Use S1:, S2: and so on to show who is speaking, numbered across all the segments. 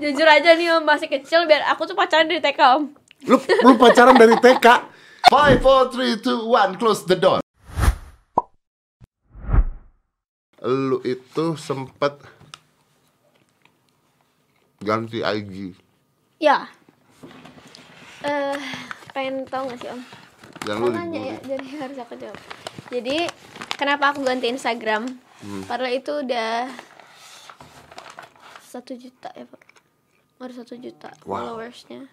S1: Jujur aja nih om, masih kecil biar aku tuh pacaran dari TK om
S2: Lu, lu pacaran dari TK.
S3: 5, 4, 3, 2, 1, close the door Lu itu sempet ganti IG
S1: Ya eh Pengen tahu gak sih om?
S3: Dan
S1: Kamu
S3: lu
S1: nanya ya,
S3: dibully
S1: jadi harus aku jawab Jadi, kenapa aku ganti Instagram?
S3: Hmm.
S1: Padahal itu udah satu juta ya pak Baru satu juta followersnya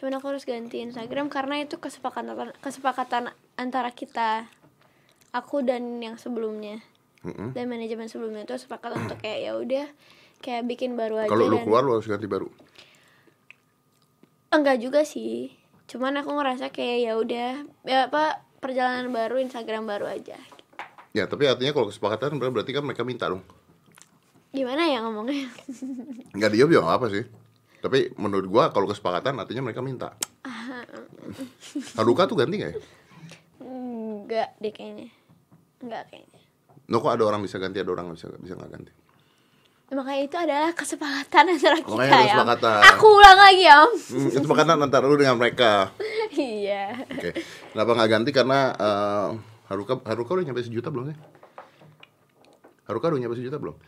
S1: Cuman aku harus ganti Instagram karena itu kesepakatan kesepakatan antara kita Aku dan yang sebelumnya dan manajemen sebelumnya itu sepakat untuk kayak ya udah kayak bikin baru aja
S3: Kalau lu
S1: dan-
S3: keluar lu harus ganti baru
S1: enggak juga sih cuman aku ngerasa kayak ya udah ya apa perjalanan baru Instagram baru aja
S3: Ya tapi artinya kalau kesepakatan ber- berarti kan mereka minta dong
S1: gimana ya ngomongnya
S3: Nggak diem ya nggak apa sih Tapi menurut gua kalau kesepakatan artinya mereka minta
S1: Ah.
S3: Haruka tuh ganti nggak ya?
S1: enggak deh kayaknya enggak kayaknya
S3: No kok ada orang bisa ganti ada orang nggak bisa bisa nggak ganti
S1: makanya itu adalah kesepakatan antara kita
S3: Makanya ada
S1: ya Om.
S3: kesepakatan.
S1: aku ulang lagi ya om
S3: Hmm, itu makanan antara lu dengan mereka
S1: iya
S3: Oke, kenapa nggak ganti? Karena eh, Haruka Haruka udah nyampe sejuta belum sih? Haruka udah nyampe sejuta belum?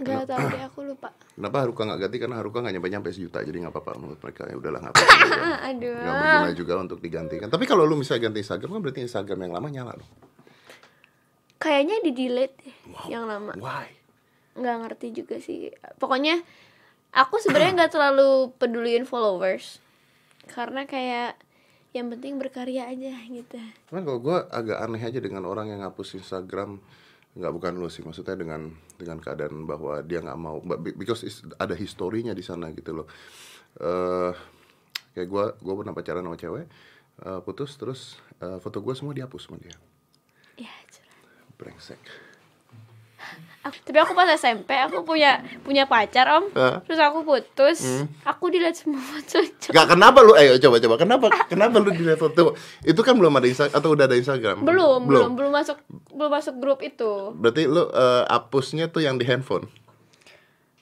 S1: enggak tahu deh aku lupa
S3: Kenapa Haruka nggak ganti? Karena Haruka nggak nyampe nyampe sejuta, jadi nggak apa-apa menurut mereka. Ya udahlah nggak apa-apa. juga.
S1: ah, aduh
S3: Nggak berguna juga untuk digantikan. Tapi kalau lu misalnya ganti Instagram kan berarti Instagram yang lama nyala dong.
S1: kayaknya di delete deh yang lama
S3: Why?
S1: nggak ngerti juga sih pokoknya aku sebenarnya nggak terlalu peduliin followers karena kayak yang penting berkarya aja gitu
S3: Cuman kalau gue agak aneh aja dengan orang yang ngapus Instagram nggak bukan lu sih maksudnya dengan dengan keadaan bahwa dia nggak mau but be- because is- ada historinya di sana gitu loh eh kayak gue gue pernah pacaran sama cewek eh, putus terus eh, foto gue semua dihapus sama dia
S1: ya curhat.
S3: brengsek
S1: Aku- tapi aku pas SMP aku punya punya pacar om
S3: Hah? Hmm.
S1: terus aku putus aku dilihat semua foto
S3: nggak kenapa lu ayo coba coba kenapa kenapa lu dilihat foto itu kan belum ada Instagram atau udah ada Instagram
S1: belum belum belum masuk belum masuk grup itu
S3: berarti lu eh, hapusnya tuh yang di handphone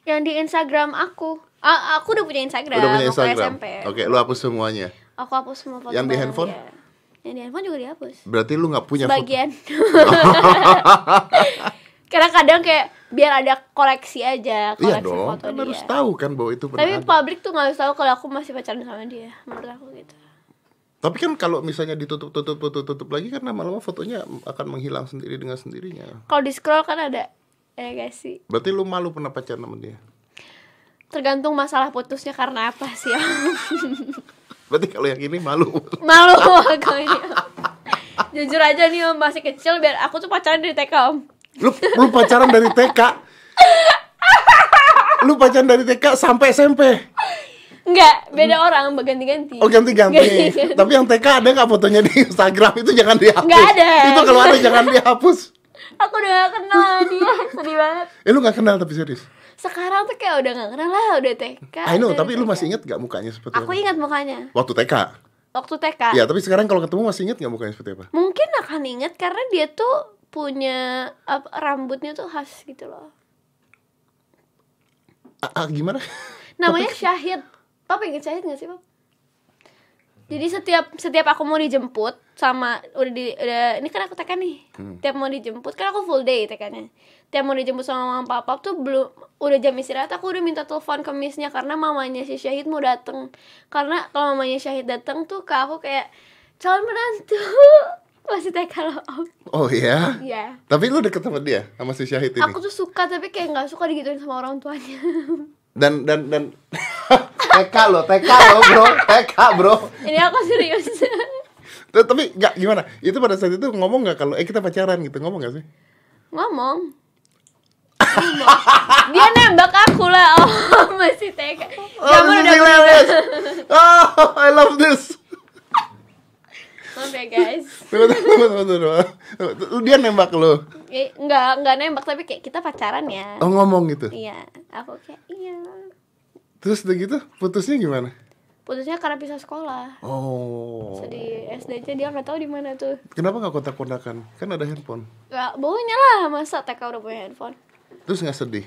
S1: yang di Instagram aku Ah, aku udah punya Instagram
S3: udah punya
S1: waktu
S3: Instagram
S1: SMP
S3: oke lu hapus semuanya
S1: aku hapus semua foto
S3: Yang di
S1: bareng
S3: handphone?
S1: dia. yang di handphone juga dihapus
S3: berarti lu nggak punya foto
S1: bagian karena kadang kayak biar ada koleksi aja koleksi
S3: Iya dong,
S1: foto
S3: kan
S1: dia
S3: harus tahu kan bahwa itu pernah
S1: tapi
S3: ada.
S1: publik tuh nggak harus tahu kalau aku masih pacaran sama dia menurut aku gitu
S3: Tapi kan kalau misalnya ditutup tutup tutup tutup lagi kan lama-lama fotonya akan menghilang sendiri dengan sendirinya.
S1: kalau di scroll kan ada ya gak sih
S3: Berarti lu malu pernah pacaran sama dia.
S1: tergantung masalah putusnya karena apa sih ya
S3: Berarti kalau yang ini malu.
S1: malu aku ini jujur aja nih om masih kecil biar aku tuh pacaran dari TK om
S2: Lu, lu pacaran dari TK. Lu pacaran dari TK sampai SMP.
S1: Enggak, beda orang, berganti-ganti
S2: Hmm. Oh ganti-ganti. Tapi yang TK ada nggak fotonya di Instagram itu jangan dihapus.
S1: Nggak ada.
S2: Itu kalau ada jangan dihapus.
S1: Aku udah gak kenal dia, sedih banget
S2: Eh lu nggak kenal tapi serius.
S1: Sekarang tuh kayak udah gak kenal lah, udah TK
S2: I know,
S1: dari
S2: tapi lu
S1: TK.
S2: masih Iya. inget nggak mukanya seperti
S1: Aku
S2: apa?
S1: ingat mukanya
S2: Waktu TK.
S1: waktu TK.
S2: Ya, tapi sekarang kalau ketemu masih inget nggak mukanya seperti apa?
S1: Mungkin akan ingat karena dia tuh punya apa, rambutnya tuh khas gitu loh.
S2: Ah, ah, gimana?
S1: Namanya Syahid. Papa inget Syahid gak sih, Pap? Jadi setiap setiap aku mau dijemput sama udah di udah ini kan aku TK nih. Tiap mau dijemput kan aku full day TK-nya. Tiap mau dijemput sama mama papa tuh belum udah jam istirahat aku udah minta telepon ke misnya karena mamanya si Syahid mau dateng Karena kalau mamanya Syahid dateng tuh ke aku kayak calon menantu. Masih TK loh. Om.
S3: Oh iya.
S1: Iya.
S3: Tapi lu deket sama dia sama si Syahid ini.
S1: Aku tuh suka tapi kayak nggak suka digituin sama orang tuanya.
S3: Dan dan dan TK lo, TK lo, Bro. TK, Bro.
S1: Ini aku serius.
S3: Tuh, Tapi nggak gimana? Itu pada saat itu ngomong nggak kalau eh kita pacaran gitu ngomong nggak sih?
S1: Ngomong. Ngomong. Dia nembak aku lah. Oh, masih TK. Zaman
S3: this
S1: udah
S3: is hilarious. Oh, I love this.
S1: Maaf ya, guys.
S3: Tunggu, tunggu, tunggu, tunggu, tunggu. Dia nembak lo.
S1: Eh, Nggak, nggak nembak tapi kayak kita pacaran ya.
S3: Oh, ngomong gitu.
S1: Iya, aku kayak iya.
S3: Terus udah gitu putusnya gimana?
S1: Putusnya karena pisah sekolah.
S3: Oh.
S1: Sedih SD aja dia nggak tahu di mana tuh. Ya,
S3: Kenapa nggak kontak-kontakan? Kan ada handphone.
S1: Nggak, baunya lah masa TK udah punya handphone.
S3: Terus nggak sedih?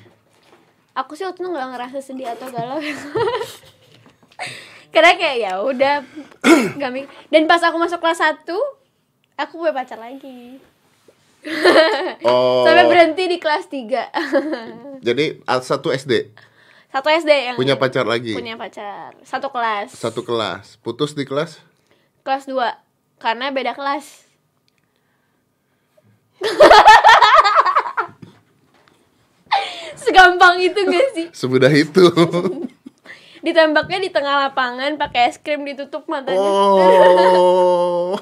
S1: aku sih waktu itu nggak ngerasa sedih atau galau karena kayak ya udah nggak mik- dan pas aku masuk kelas 1 aku punya pacar lagi
S3: Oh.
S1: sampai berhenti di kelas 3
S3: Jadi A- satu SD
S1: satu SD yang
S3: punya pacar lagi.
S1: punya pacar satu kelas
S3: Satu kelas. Putus di kelas?
S1: kelas 2 karena beda kelas segampang itu gak sih
S3: Semudah itu.
S1: ditembaknya di tengah lapangan pakai es krim ditutup matanya
S3: oh.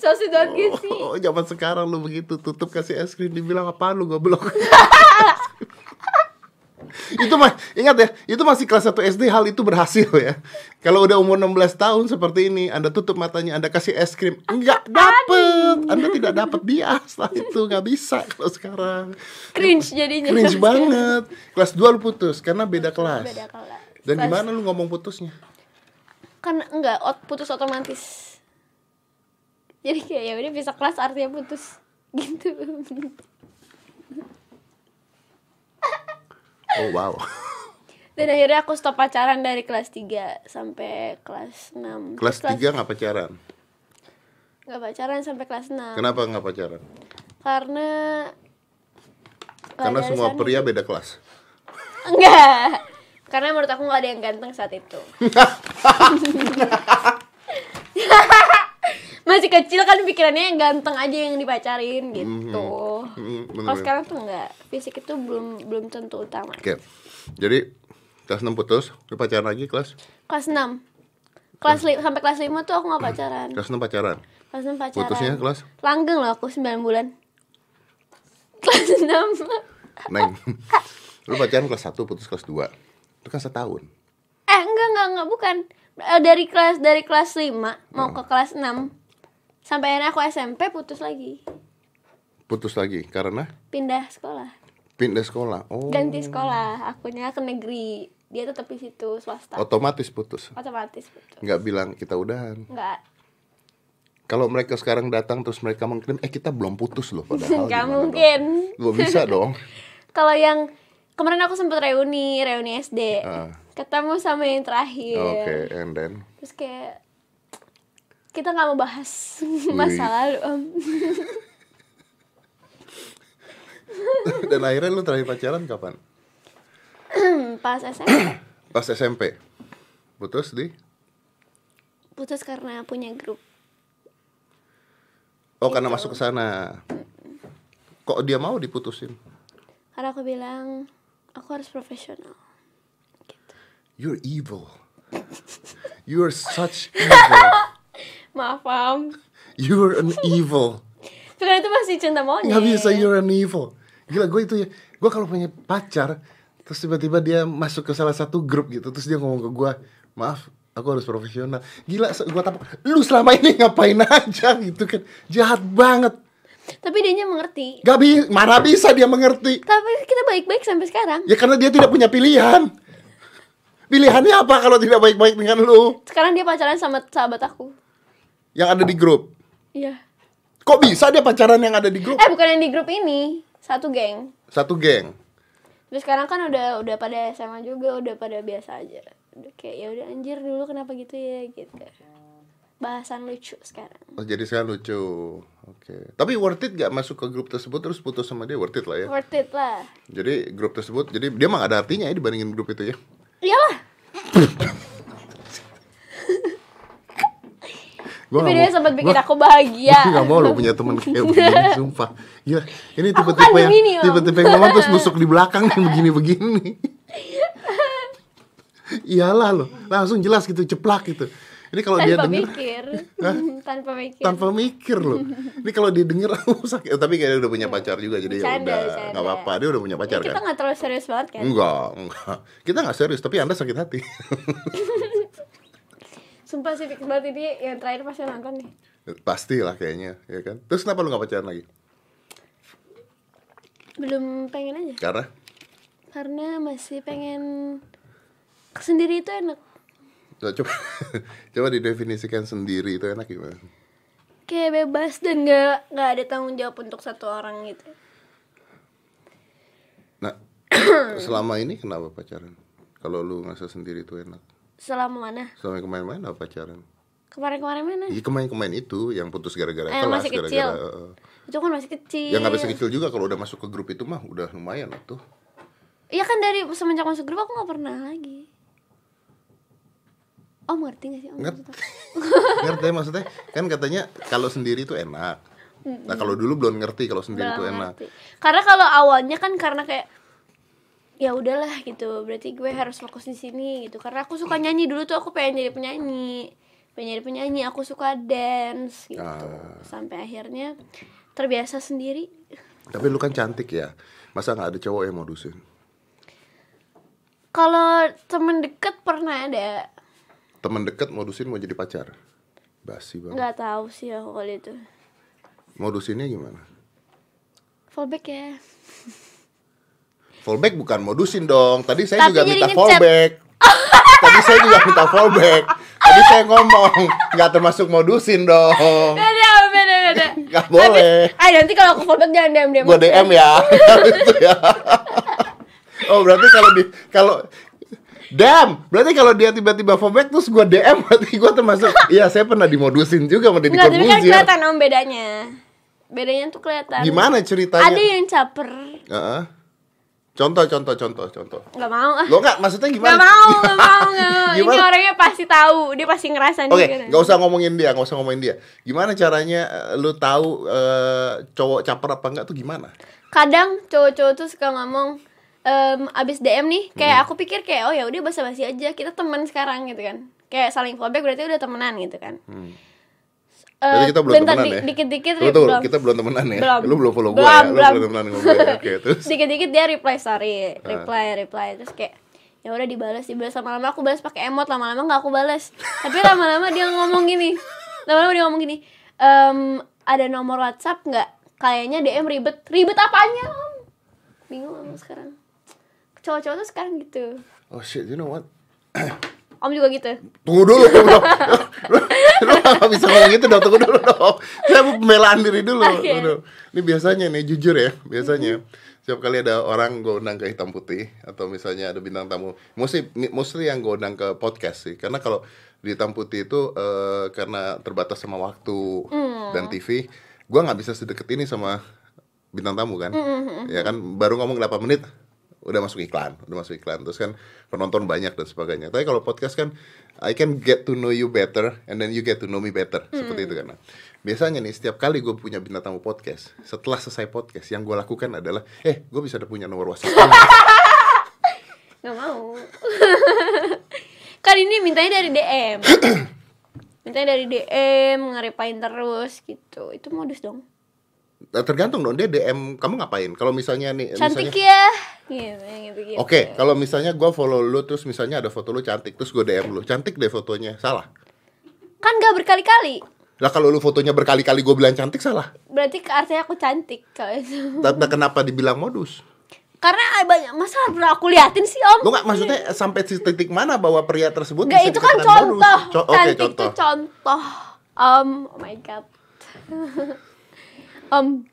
S1: so sweet banget gak sih
S3: Oh, zaman sekarang lu begitu tutup kasih es krim dibilang apaan lu goblok. itu mah ingat ya, itu masih kelas 1 SD hal itu berhasil ya. Kalau udah umur 16 tahun seperti ini, Anda tutup matanya, Anda kasih es krim, nggak dapet. Anda tidak dapet dia setelah itu nggak bisa kalau sekarang.
S1: cringe jadinya
S3: Cringe banget. Kelas 2 lu putus karena beda kelas.
S1: beda kelas
S3: Dan
S1: Kelas-
S3: gimana lu ngomong putusnya?
S1: kan enggak ot- putus otomatis jadi kayak ya udah bisa kelas artinya putus gitu
S3: Oh wow.
S1: dan akhirnya aku stop pacaran dari kelas 3 sampai kelas 6
S3: Kelas 3 nggak pacaran.
S1: nggak pacaran sampai kelas 6
S3: Kenapa nggak pacaran?
S1: karena
S3: Karena
S1: nggak ada
S3: semua
S1: alasan.
S3: pria beda kelas.
S1: enggak karena menurut aku nggak ada yang ganteng saat itu masih kecil kan pikirannya yang ganteng aja yang
S3: Mhm.
S1: dipacarin gitu
S3: Hmm, bener-bener.
S1: kalau sekarang tuh enggak fisik itu belum belum tentu utama
S3: Oke. Jadi kelas 6 putus, lu pacaran lagi kelas?
S1: kelas 6 kelas li- sampai kelas 5 tuh aku nggak pacaran
S3: Kelas 6 pacaran.
S1: kelas 6 pacaran
S3: Putusnya kelas
S1: langgeng loh aku 9 bulan kelas 6
S3: Neng. lu pacaran kelas 1 putus kelas 2. Itu kan setahun.
S1: Eh enggak enggak enggak bukan Eh, dari kelas dari kelas 5 mau
S3: Hmm.
S1: ke kelas 6 sampai akhirnya aku SMP putus lagi
S3: Putus lagi karena
S1: pindah sekolah
S3: pindah sekolah. Oh.
S1: ganti sekolah akunya ke negeri dia tetap di situ swasta
S3: Otomatis putus.
S1: otomatis putus
S3: Nggak bilang kita udahan.
S1: enggak
S3: Kalau mereka sekarang datang terus mereka mengklaim eh kita belum putus loh padahal.
S1: enggak
S3: gimana dong?
S1: mungkin
S3: Lu bisa dong.
S1: kalau yang kemarin aku sempet reuni reuni SD
S3: Ah. Oh,
S1: ketemu sama yang terakhir
S3: Oke, and then
S1: terus kayak kita nggak mau bahas masa
S3: Wih.
S1: lalu Om.
S3: dan akhirnya lu terakhir pacaran kapan?
S1: pas SMP
S3: Pas SMP. Putus di
S1: putus karena punya grup
S3: Oh, karena masuk ke sana. Kok dia mau diputusin?
S1: karena aku bilang aku harus profesional
S3: You're evil. You're such evil.
S1: maaf om
S3: You're an evil.
S1: tapi kan itu masih cinta monyet
S3: Nggak bisa iya. you're an evil. Gila gue itu ya. Gue kalau punya pacar terus tiba-tiba dia masuk ke salah satu grup gitu terus dia ngomong ke gue, "Maaf, aku harus profesional." Gila, se- gue tampar, "Lu selama ini ngapain aja?" gitu kan. Jahat banget.
S1: tapi dia mengerti
S3: Gak bisa, mana bisa dia mengerti?
S1: tapi kita baik-baik sampai sekarang
S3: Ya karena dia tidak punya pilihan. Pilihannya apa kalau tidak baik-baik dengan lu
S1: sekarang dia pacaran sama sahabat aku
S3: yang ada di grup?
S1: iya
S3: Kok bisa dia pacaran yang ada di grup?
S1: eh bukan yang di grup ini satu geng
S3: Satu geng.
S1: tapi sekarang kan udah udah pada SMA juga udah pada biasa aja udah kayak ya udah anjir dulu kenapa gitu ya gitu bahasan lucu sekarang
S3: Oh, jadi sekarang lucu. Oke. Tapi worth it gak masuk ke grup tersebut terus putus sama dia worth it lah ya.
S1: worth it lah
S3: Jadi grup tersebut jadi dia mah gak ada artinya ya dibandingin grup itu ya.
S1: iyalah
S3: Gua
S1: tapi
S3: nggak
S1: dia
S3: mau-
S1: sempat bikin
S3: gua-
S1: aku bahagia
S3: Gua gak mau lo punya temen kayak begini, sumpah Gila, ini
S1: Aku
S3: tipe-tipe
S1: kan
S3: yang
S1: begini, Om.
S3: Tipe-tipe yang ngomong terus nusuk di belakang yang begini-begini Iyalah lo, langsung jelas gitu, ceplak gitu Ini kalau dia
S1: tanpa
S3: denger
S1: mikir
S3: Hah?
S1: tanpa mikir
S3: tanpa mikir loh ini kalau didengar aku sakit Eh, tapi kayaknya udah punya pacar juga jadi ya
S1: Bercanda,
S3: udah
S1: bercanda.
S3: nggak apa-apa dia udah punya pacar
S1: Ya, kita
S3: kan
S1: nggak terlalu serius banget kan
S3: enggak enggak kita nggak serius tapi anda sakit hati
S1: sumpah sih fix banget ini yang terakhir pasti nonton nih
S3: pastilah kayaknya ya kan terus kenapa lu nggak pacaran lagi
S1: belum pengen aja
S3: karena
S1: karena masih pengen sendiri itu enak
S3: Nah, coba coba didefinisikan sendiri itu enak gimana
S1: kayak bebas dan nggak nggak ada tanggung jawab untuk satu orang gitu
S3: nah selama ini kenapa pacaran? Kalau lu ngerasa sendiri itu enak.
S1: selama mana
S3: Selama yang kemarin-kemarin apa pacaran?
S1: kemarin-kemarin mana
S3: Iya kemarin-kemarin itu yang putus gara-gara
S1: Eh, Hmm. yang
S3: kelas,
S1: masih
S3: gara-gara
S1: kecil.
S3: eh,
S1: itu kan masih kecil
S3: yang nggak bisa kecil juga kalau udah masuk ke grup itu mah udah lumayan lah tuh.
S1: Iya kan dari semenjak masuk grup aku nggak pernah lagi. Om ngerti gak sih? Om
S3: Ngerti.
S1: maksud aku?
S3: ngerti maksudnya kan katanya kalau sendiri itu enak. Nah kalau dulu belum ngerti kalau sendiri itu
S1: Belum
S3: enak.
S1: ngerti. Karena kalau awalnya kan karena kayak ya udahlah gitu. Berarti gue harus fokus di sini gitu. Karena aku suka nyanyi dulu tuh aku pengen jadi penyanyi. Pengen jadi penyanyi, aku suka dance gitu.
S3: Ah.
S1: Sampai akhirnya terbiasa sendiri.
S3: Tapi lu kan cantik ya. Masa nggak ada cowok yang modusin?
S1: Kalau temen deket pernah ada
S3: Temen deket modusin mau jadi pacar. Basi banget.
S1: nggak tahu sih aku kalau itu.
S3: Modusinnya gimana?
S1: Fallback ya.
S3: Fallback bukan modusin dong. Tadi saya
S1: Tapi
S3: juga
S1: jadi
S3: minta
S1: ngechat.
S3: fallback. Tadi saya juga minta fallback. Tadi saya ngomong nggak termasuk modusin dong.
S1: Beda, beda, beda.
S3: Nggak boleh.
S1: Tapi- Ay, Ah, nanti kalau aku fallback jangan DM DM.
S3: Gua DM ya. Gitu ya. oh berarti kalau di kalau Damn, berarti kalau dia tiba-tiba fallback terus gua DM berarti gua termasuk Iya, saya pernah dimodusin juga sama Deddy
S1: Enggak, tapi kan
S3: Corbuzier.
S1: kelihatan om bedanya. Bedanya tuh kelihatan.
S3: Gimana ceritanya?
S1: Ada yang caper.
S3: Heeh. Contoh, contoh, contoh, contoh.
S1: Nggak mau ah.
S3: Lo nggak maksudnya
S1: Nggak
S3: gimana?
S1: mau, nggak mau, nggak mau. Ini
S3: Gimana?
S1: orangnya pasti tahu, dia pasti ngerasain
S3: Oke,
S1: juga.
S3: nggak usah ngomongin dia, nggak usah ngomongin dia. Gimana caranya eh, lu tahu eh, cowok caper apa enggak tuh gimana?
S1: kadang cowok-cowok tuh suka ngomong em, abis DM nih
S3: Hmm.
S1: kayak aku pikir kayak oh ya udah basa-basi aja kita teman sekarang gitu kan kayak saling fallback berarti udah temenan gitu kan Eh,
S3: Hmm. Berarti kita belum
S1: bentar,
S3: temenan
S1: di-
S3: ya.
S1: dikit-dikit
S3: Lu
S1: ri-
S3: tuh,
S1: belum.
S3: kita belum temenan ya.
S1: Belum.
S3: Lu belum follow
S1: Belum,
S3: gua ya. Lu
S1: belum.
S3: belum temenan sama gua ya. Oke, terus. Ah.
S1: dikit-dikit dia reply sorry reply reply terus kayak ya udah dibalas dibalas lama-lama aku balas pakai emot lama-lama nggak aku balas tapi lama-lama dia ngomong gini lama-lama dia ngomong gini "Em, ada nomor WhatsApp nggak kayaknya DM ribet ribet apanya om bingung om sekarang cowok-cowok tuh sekarang gitu
S3: Oh shit, you know what?
S1: om juga gitu
S3: Tunggu dulu, tunggu dong. Lu, lu nggak bisa ngomong gitu dong, tunggu dulu dong. Saya mau pembelaan diri dulu.
S1: Oke.
S3: Tunggu dulu. Ini biasanya nih, jujur ya, biasanya. Setiap kali ada orang gue undang ke hitam putih atau misalnya ada bintang tamu, mostly mi- mostly yang gue undang ke podcast sih, karena kalau di hitam putih itu eh, karena terbatas sama waktu dan TV, gue nggak bisa sedekat ini sama bintang tamu kan, ya kan baru ngomong 8 menit udah masuk iklan, udah masuk iklan terus kan penonton banyak dan sebagainya. Tapi kalau podcast kan I can get to know you better and then you get to know me better seperti itu kan. Nah, Biasanya nih setiap kali gue punya bintang tamu podcast, setelah selesai podcast yang gue lakukan adalah eh gue bisa ada punya nomor WhatsApp. lu.
S1: nggak mau kan ini mintanya dari DM mintanya dari DM ngerepain terus gitu itu modus dong
S3: Nah, Tergantung dong dia DM kamu ngapain. Kalau misalnya nih
S1: cantik
S3: misalnya
S1: ya gitu gitu gitu
S3: Oke, kalau misalnya gue follow lu terus misalnya ada foto lu cantik terus gue DM lu. Cantik deh fotonya. Salah.
S1: kan gak berkali-kali
S3: Lah kalau lu fotonya berkali-kali gue bilang cantik salah.
S1: berarti ke- artinya aku cantik kalau itu
S3: Tapi kenapa dibilang modus?
S1: karena ada banyak masalah bro aku liatin sih om
S3: Lo nggak maksudnya sampai si titik mana bahwa pria tersebut
S1: Nggak,
S3: bisa
S1: itu kan
S3: dikatakan modus?
S1: contoh
S3: Co- Oke
S1: cantik
S3: contoh.
S1: tuh contoh om oh my god om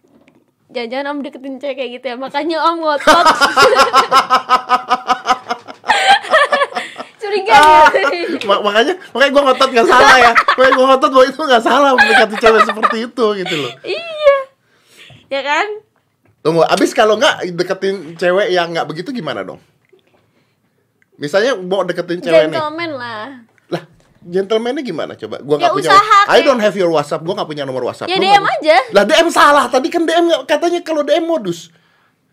S1: jangan-jangan om deketin cewek kayak gitu ya makanya om ngotot curiga
S3: Ah.
S1: gitu.
S3: Ma- makanya makanya gue ngotot nggak salah ya makanya gue ngotot bahwa itu nggak salah mendekati cewek seperti itu gitu loh
S1: iya ya kan
S3: tunggu abis kalau nggak deketin cewek yang nggak begitu gimana dong misalnya mau deketin cewek nih
S1: gentleman lah
S3: lah gentlemannya gimana coba gue
S1: Ya,
S3: nggak punya
S1: usaha
S3: I
S1: kayak-
S3: don't have your WhatsApp gue nggak punya nomor WhatsApp
S1: Ya,
S3: Lu
S1: DM
S3: nggak-
S1: aja.
S3: lah DM salah tadi kan DM nggak- katanya kalau DM modus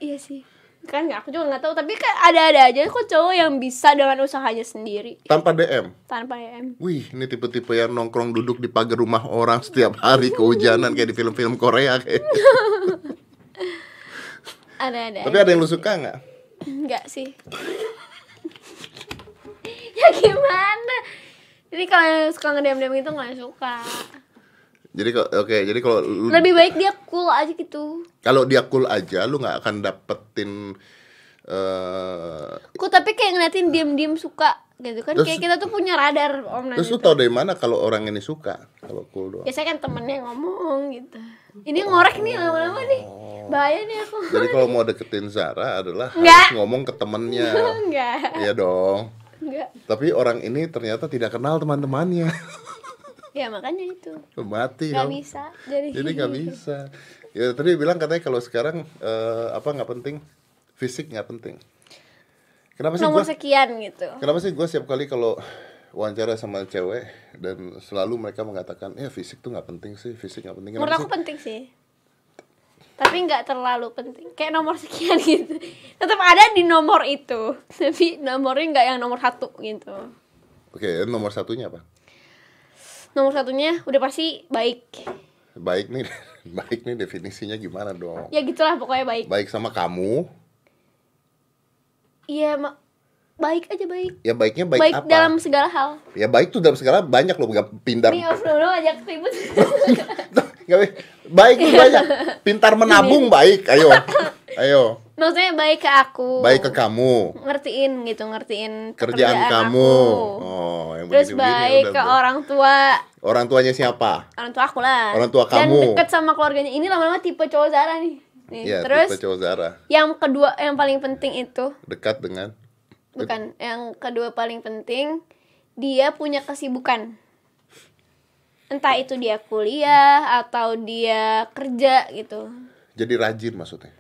S1: Iya sih kan nggak- aku juga nggak tahu tapi kan ada-ada aja kok cowok yang bisa dengan usahanya sendiri
S3: tanpa DM
S1: tanpa em
S3: Wih, ini tipe-tipe yang nongkrong duduk di pagar rumah orang setiap hari kehujanan kayak di film-film Korea kayak.
S1: ada-ada
S3: Tapi ada yang lu suka nggak?
S1: nggak sih ya gimana jadi kalau yang suka ngedem dem gitu nggak suka
S3: Jadi kok- oke, jadi kalau lu-
S1: lebih baik dia cool aja gitu
S3: kalau dia cool aja, lu nggak akan dapetin eh
S1: Kok tapi kayak ngeliatin diem-diem suka gitu kan
S3: Terus-
S1: kayak kita tuh punya radar om Nani
S3: terus
S1: tuh.
S3: lu tau dari mana kalau orang ini suka kalau cool doang
S1: Biasanya kan temennya ngomong gitu. Ini ngorek nih lama-lama nih.
S3: Oh.
S1: Bahaya nih aku.
S3: jadi kalau mau deketin Zara adalah
S1: Nggak.
S3: harus ngomong ke temennya
S1: Enggak.
S3: iya dong
S1: Enggak.
S3: tapi orang ini ternyata tidak kenal teman-temannya
S1: Ya makanya itu.
S3: mati
S1: Gak
S3: dong.
S1: bisa. Jadi
S3: jadi nggak bisa ya tadi bilang katanya kalau sekarang eh, apa nggak penting fisik nggak penting kenapa sih
S1: Nomor
S3: gua
S1: sekian gitu.
S3: kenapa sih gue setiap kali kalau wawancara sama cewek dan selalu mereka mengatakan ya fisik tuh nggak penting sih fisik nggak penting
S1: Menurut
S3: Kenapa
S1: aku
S3: sih?
S1: penting sih. Tapi nggak terlalu penting. Kayak nomor sekian gitu. Tetap ada di nomor itu. Tapi nomornya nggak yang nomor satu gitu.
S3: oke nomor satunya apa
S1: Nomor satunya udah pasti baik.
S3: baik nih baik nih definisinya gimana dong
S1: Ya gitulah pokoknya baik.
S3: baik sama kamu
S1: Iya, ma- baik aja baik.
S3: ya baiknya
S1: Baik,
S3: baik, apa
S1: dalam Iya. segala hal.
S3: ya baik tuh dalam segala banyak loh nggak pintar
S1: Nih off dulu ajak ribut.
S3: Nggak baik. baik tuh banyak pintar menabung baik ayo ayo
S1: Maksudnya baik ke aku.
S3: baik ke kamu
S1: Ngertiin gitu, ngertiin
S3: kerjaan
S1: pekerjaan
S3: kamu
S1: aku.
S3: oh yang
S1: Terus
S3: begini-begini
S1: baik
S3: udah
S1: ke
S3: ber-
S1: orang tua.
S3: orang tuanya siapa
S1: orang tua aku lah
S3: Orang tua
S1: dan
S3: kamu.
S1: deket sama keluarganya ini lama-lama tipe cowok Zara nih, nih.
S3: Iya,
S1: terus
S3: tipe cowok Zara
S1: yang kedua yang paling penting itu
S3: dekat dengan
S1: bukan yang kedua paling penting dia punya kesibukan entah itu dia kuliah atau dia kerja gitu
S3: jadi rajin maksudnya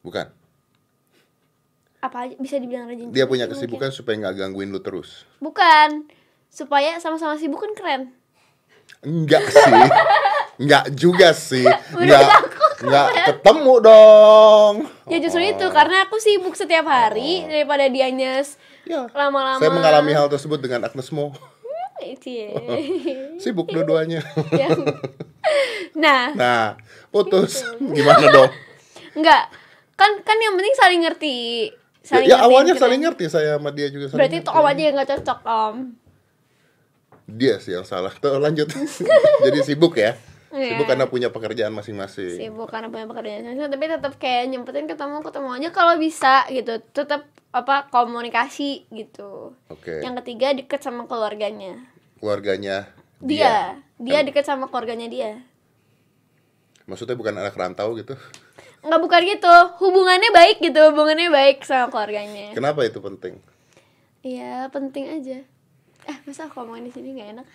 S3: bukan
S1: apa aja bisa dibilang rajin
S3: dia punya
S1: Mungkin.
S3: kesibukan supaya nggak gangguin lu terus
S1: bukan supaya sama-sama sibuk kan keren
S3: enggak sih enggak juga sih
S1: Menurut
S3: enggak
S1: aku
S3: enggak ketemu dong
S1: ya justru itu karena aku sibuk setiap hari daripada dia nyes
S3: ya
S1: lama-lama
S3: Oh. saya mengalami hal tersebut dengan Agnes Mo
S1: Cie.
S3: sibuk dua-duanya
S1: Yang- nah
S3: nah putus
S1: Gitu.
S3: gimana dong
S1: Enggak. Kan kan yang penting saling ngerti. Saling
S3: ya
S1: ngertiin
S3: awalnya
S1: kita.
S3: saling ngerti saya sama dia juga saling
S1: Berarti itu
S3: ngerti.
S1: awalnya yang nggak cocok, Om.
S3: dia sih yang salah tuh lanjut jadi sibuk ya sibuk
S1: Iya.
S3: karena punya pekerjaan masing-masing
S1: Sibuk karena punya pekerjaan masing-masing, tapi tetap kayak nyempetin ketemu ketemu aja kalau bisa gitu. Tetap apa komunikasi gitu.
S3: Oke.
S1: Yang ketiga deket sama keluarganya.
S3: keluarganya
S1: Dia, dia deket sama keluarganya dia.
S3: maksudnya bukan anak rantau gitu
S1: Enggak bukan gitu. Hubungannya baik gitu, hubungannya baik sama keluarganya.
S3: kenapa itu penting
S1: Iya, penting aja. Eh, masa aku ngomongin di sini nggak enak?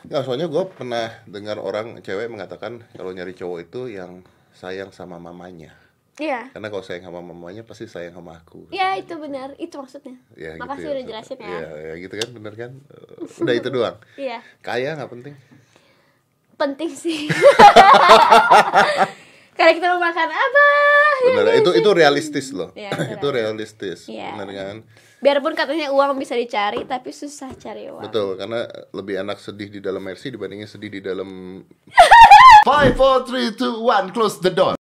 S3: nggak soalnya gue pernah dengar orang cewek mengatakan kalau nyari cowok itu yang sayang sama mamanya
S1: Iya.
S3: karena kalau sayang sama mamanya pasti sayang sama aku
S1: Ya itu benar, itu maksudnya.
S3: ya,
S1: Makasih
S3: gitu
S1: udah jelasin ya.
S3: ya ya gitu kan bener kan Eh, udah itu doang
S1: Iya,
S3: kaya nggak penting
S1: penting sih. Karena kita mau makan apa?
S3: bener itu itu realistis loh
S1: Iya,
S3: itu realistis
S1: Iya.
S3: bener kan
S1: Biarpun katanya uang bisa dicari, tapi susah cari uang.
S3: betul karena lebih enak sedih di dalam mercy dibandingin sedih di dalam
S2: Five, four, three, two, one, close the door.